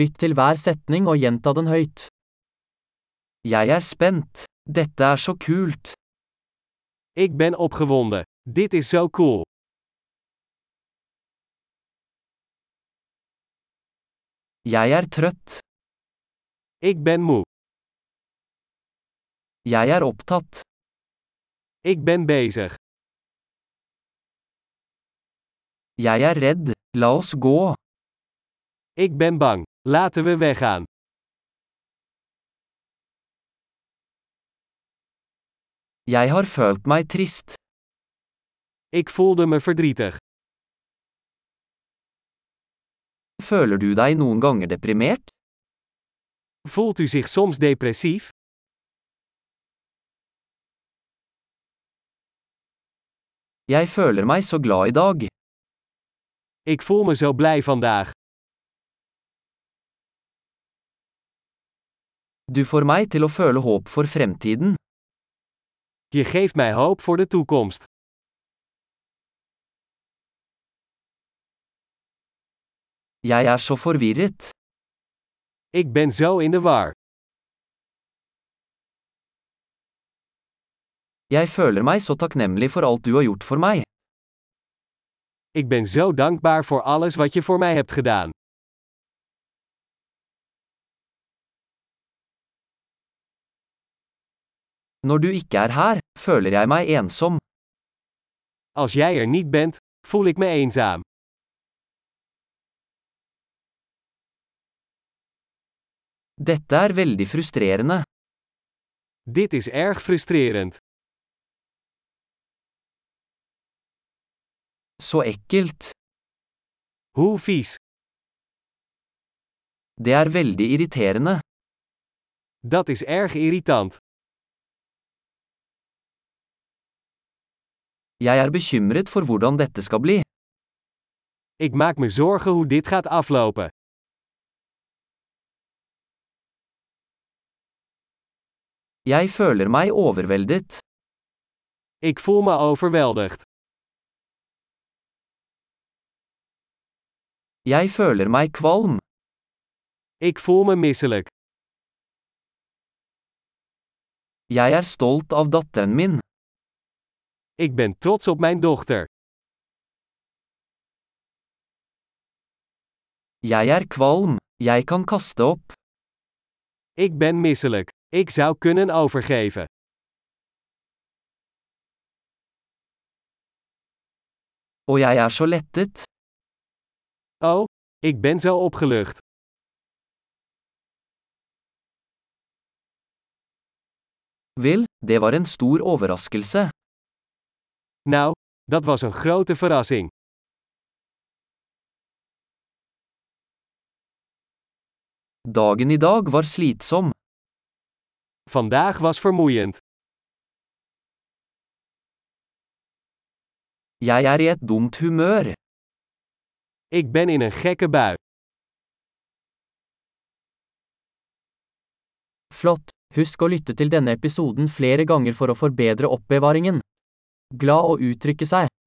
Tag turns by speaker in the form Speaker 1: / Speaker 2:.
Speaker 1: Lytt til hver setning og gjenta den høyt.
Speaker 2: Jeg er spent. Dette er så kult.
Speaker 3: Ik ben opgewonden. Dit is zo cool.
Speaker 2: Jeg er trøtt.
Speaker 3: Ik ben moe.
Speaker 2: Jeg er opptatt.
Speaker 3: Ik ben bezig.
Speaker 2: Jeg er redd. La oss gå.
Speaker 3: Ik ben bang. Laten we weggaan.
Speaker 2: Jeg har følt meg trist.
Speaker 3: Ik voelde me verdrietig.
Speaker 2: Føler du deg noen ganger deprimert?
Speaker 3: Voelt u zich soms depressief?
Speaker 2: Jeg føler meg så glad i dag.
Speaker 3: Ik voel me zo blij vandaag.
Speaker 2: Du får meg til å føle håp for fremtiden.
Speaker 3: Je geeft mij hoop voor de toekomst.
Speaker 2: Jeg er så forvirret.
Speaker 3: Ik ben zo in de war.
Speaker 2: Jeg føler meg så takknemlig for alt du har gjort for meg.
Speaker 3: Ik ben zo dankbaar voor alles wat je voor mij hebt gedaan.
Speaker 2: Når du ikke er her, føler jeg meg ensom.
Speaker 3: Als jij er niet bent, voel ik me eenzaam.
Speaker 2: Dette er veldig frustrerende.
Speaker 3: Dit is erg frustrerend.
Speaker 2: Så ekkelt.
Speaker 3: Hoe vies.
Speaker 2: Det er veldig irriterende.
Speaker 3: Dat is erg irritant.
Speaker 2: Jeg er bekymret for hvordan dette skal bli.
Speaker 3: Ik maak me zorgen hoe dit gaat aflopen.
Speaker 2: Jeg føler meg overveldet.
Speaker 3: Ik voel me overweldigd.
Speaker 2: Jeg føler meg kvalm.
Speaker 3: Ik voel me misselijk.
Speaker 2: Jeg er stolt av datteren min.
Speaker 3: Ik ben trots op mijn dochter.
Speaker 2: Jeg er kvalm. Jeg kan kaste opp.
Speaker 3: Ik ben misselijk. Ik zou kunnen overgeven.
Speaker 2: Og jeg er så lettet.
Speaker 3: Oh, ik ben zo opgelucht.
Speaker 2: Vil, det var en stor overraskelse.
Speaker 3: Nou, dat was een grote verrassing.
Speaker 2: Dagen i dag var slitsom.
Speaker 3: Vandaag was vermoeiend.
Speaker 2: Jeg er i et dumt humør.
Speaker 3: Ik ben in een gekke bui.
Speaker 1: Flott! Husk å lytte til denne episoden flere ganger for å forbedre oppbevaringen. Glad å uttrykke seg.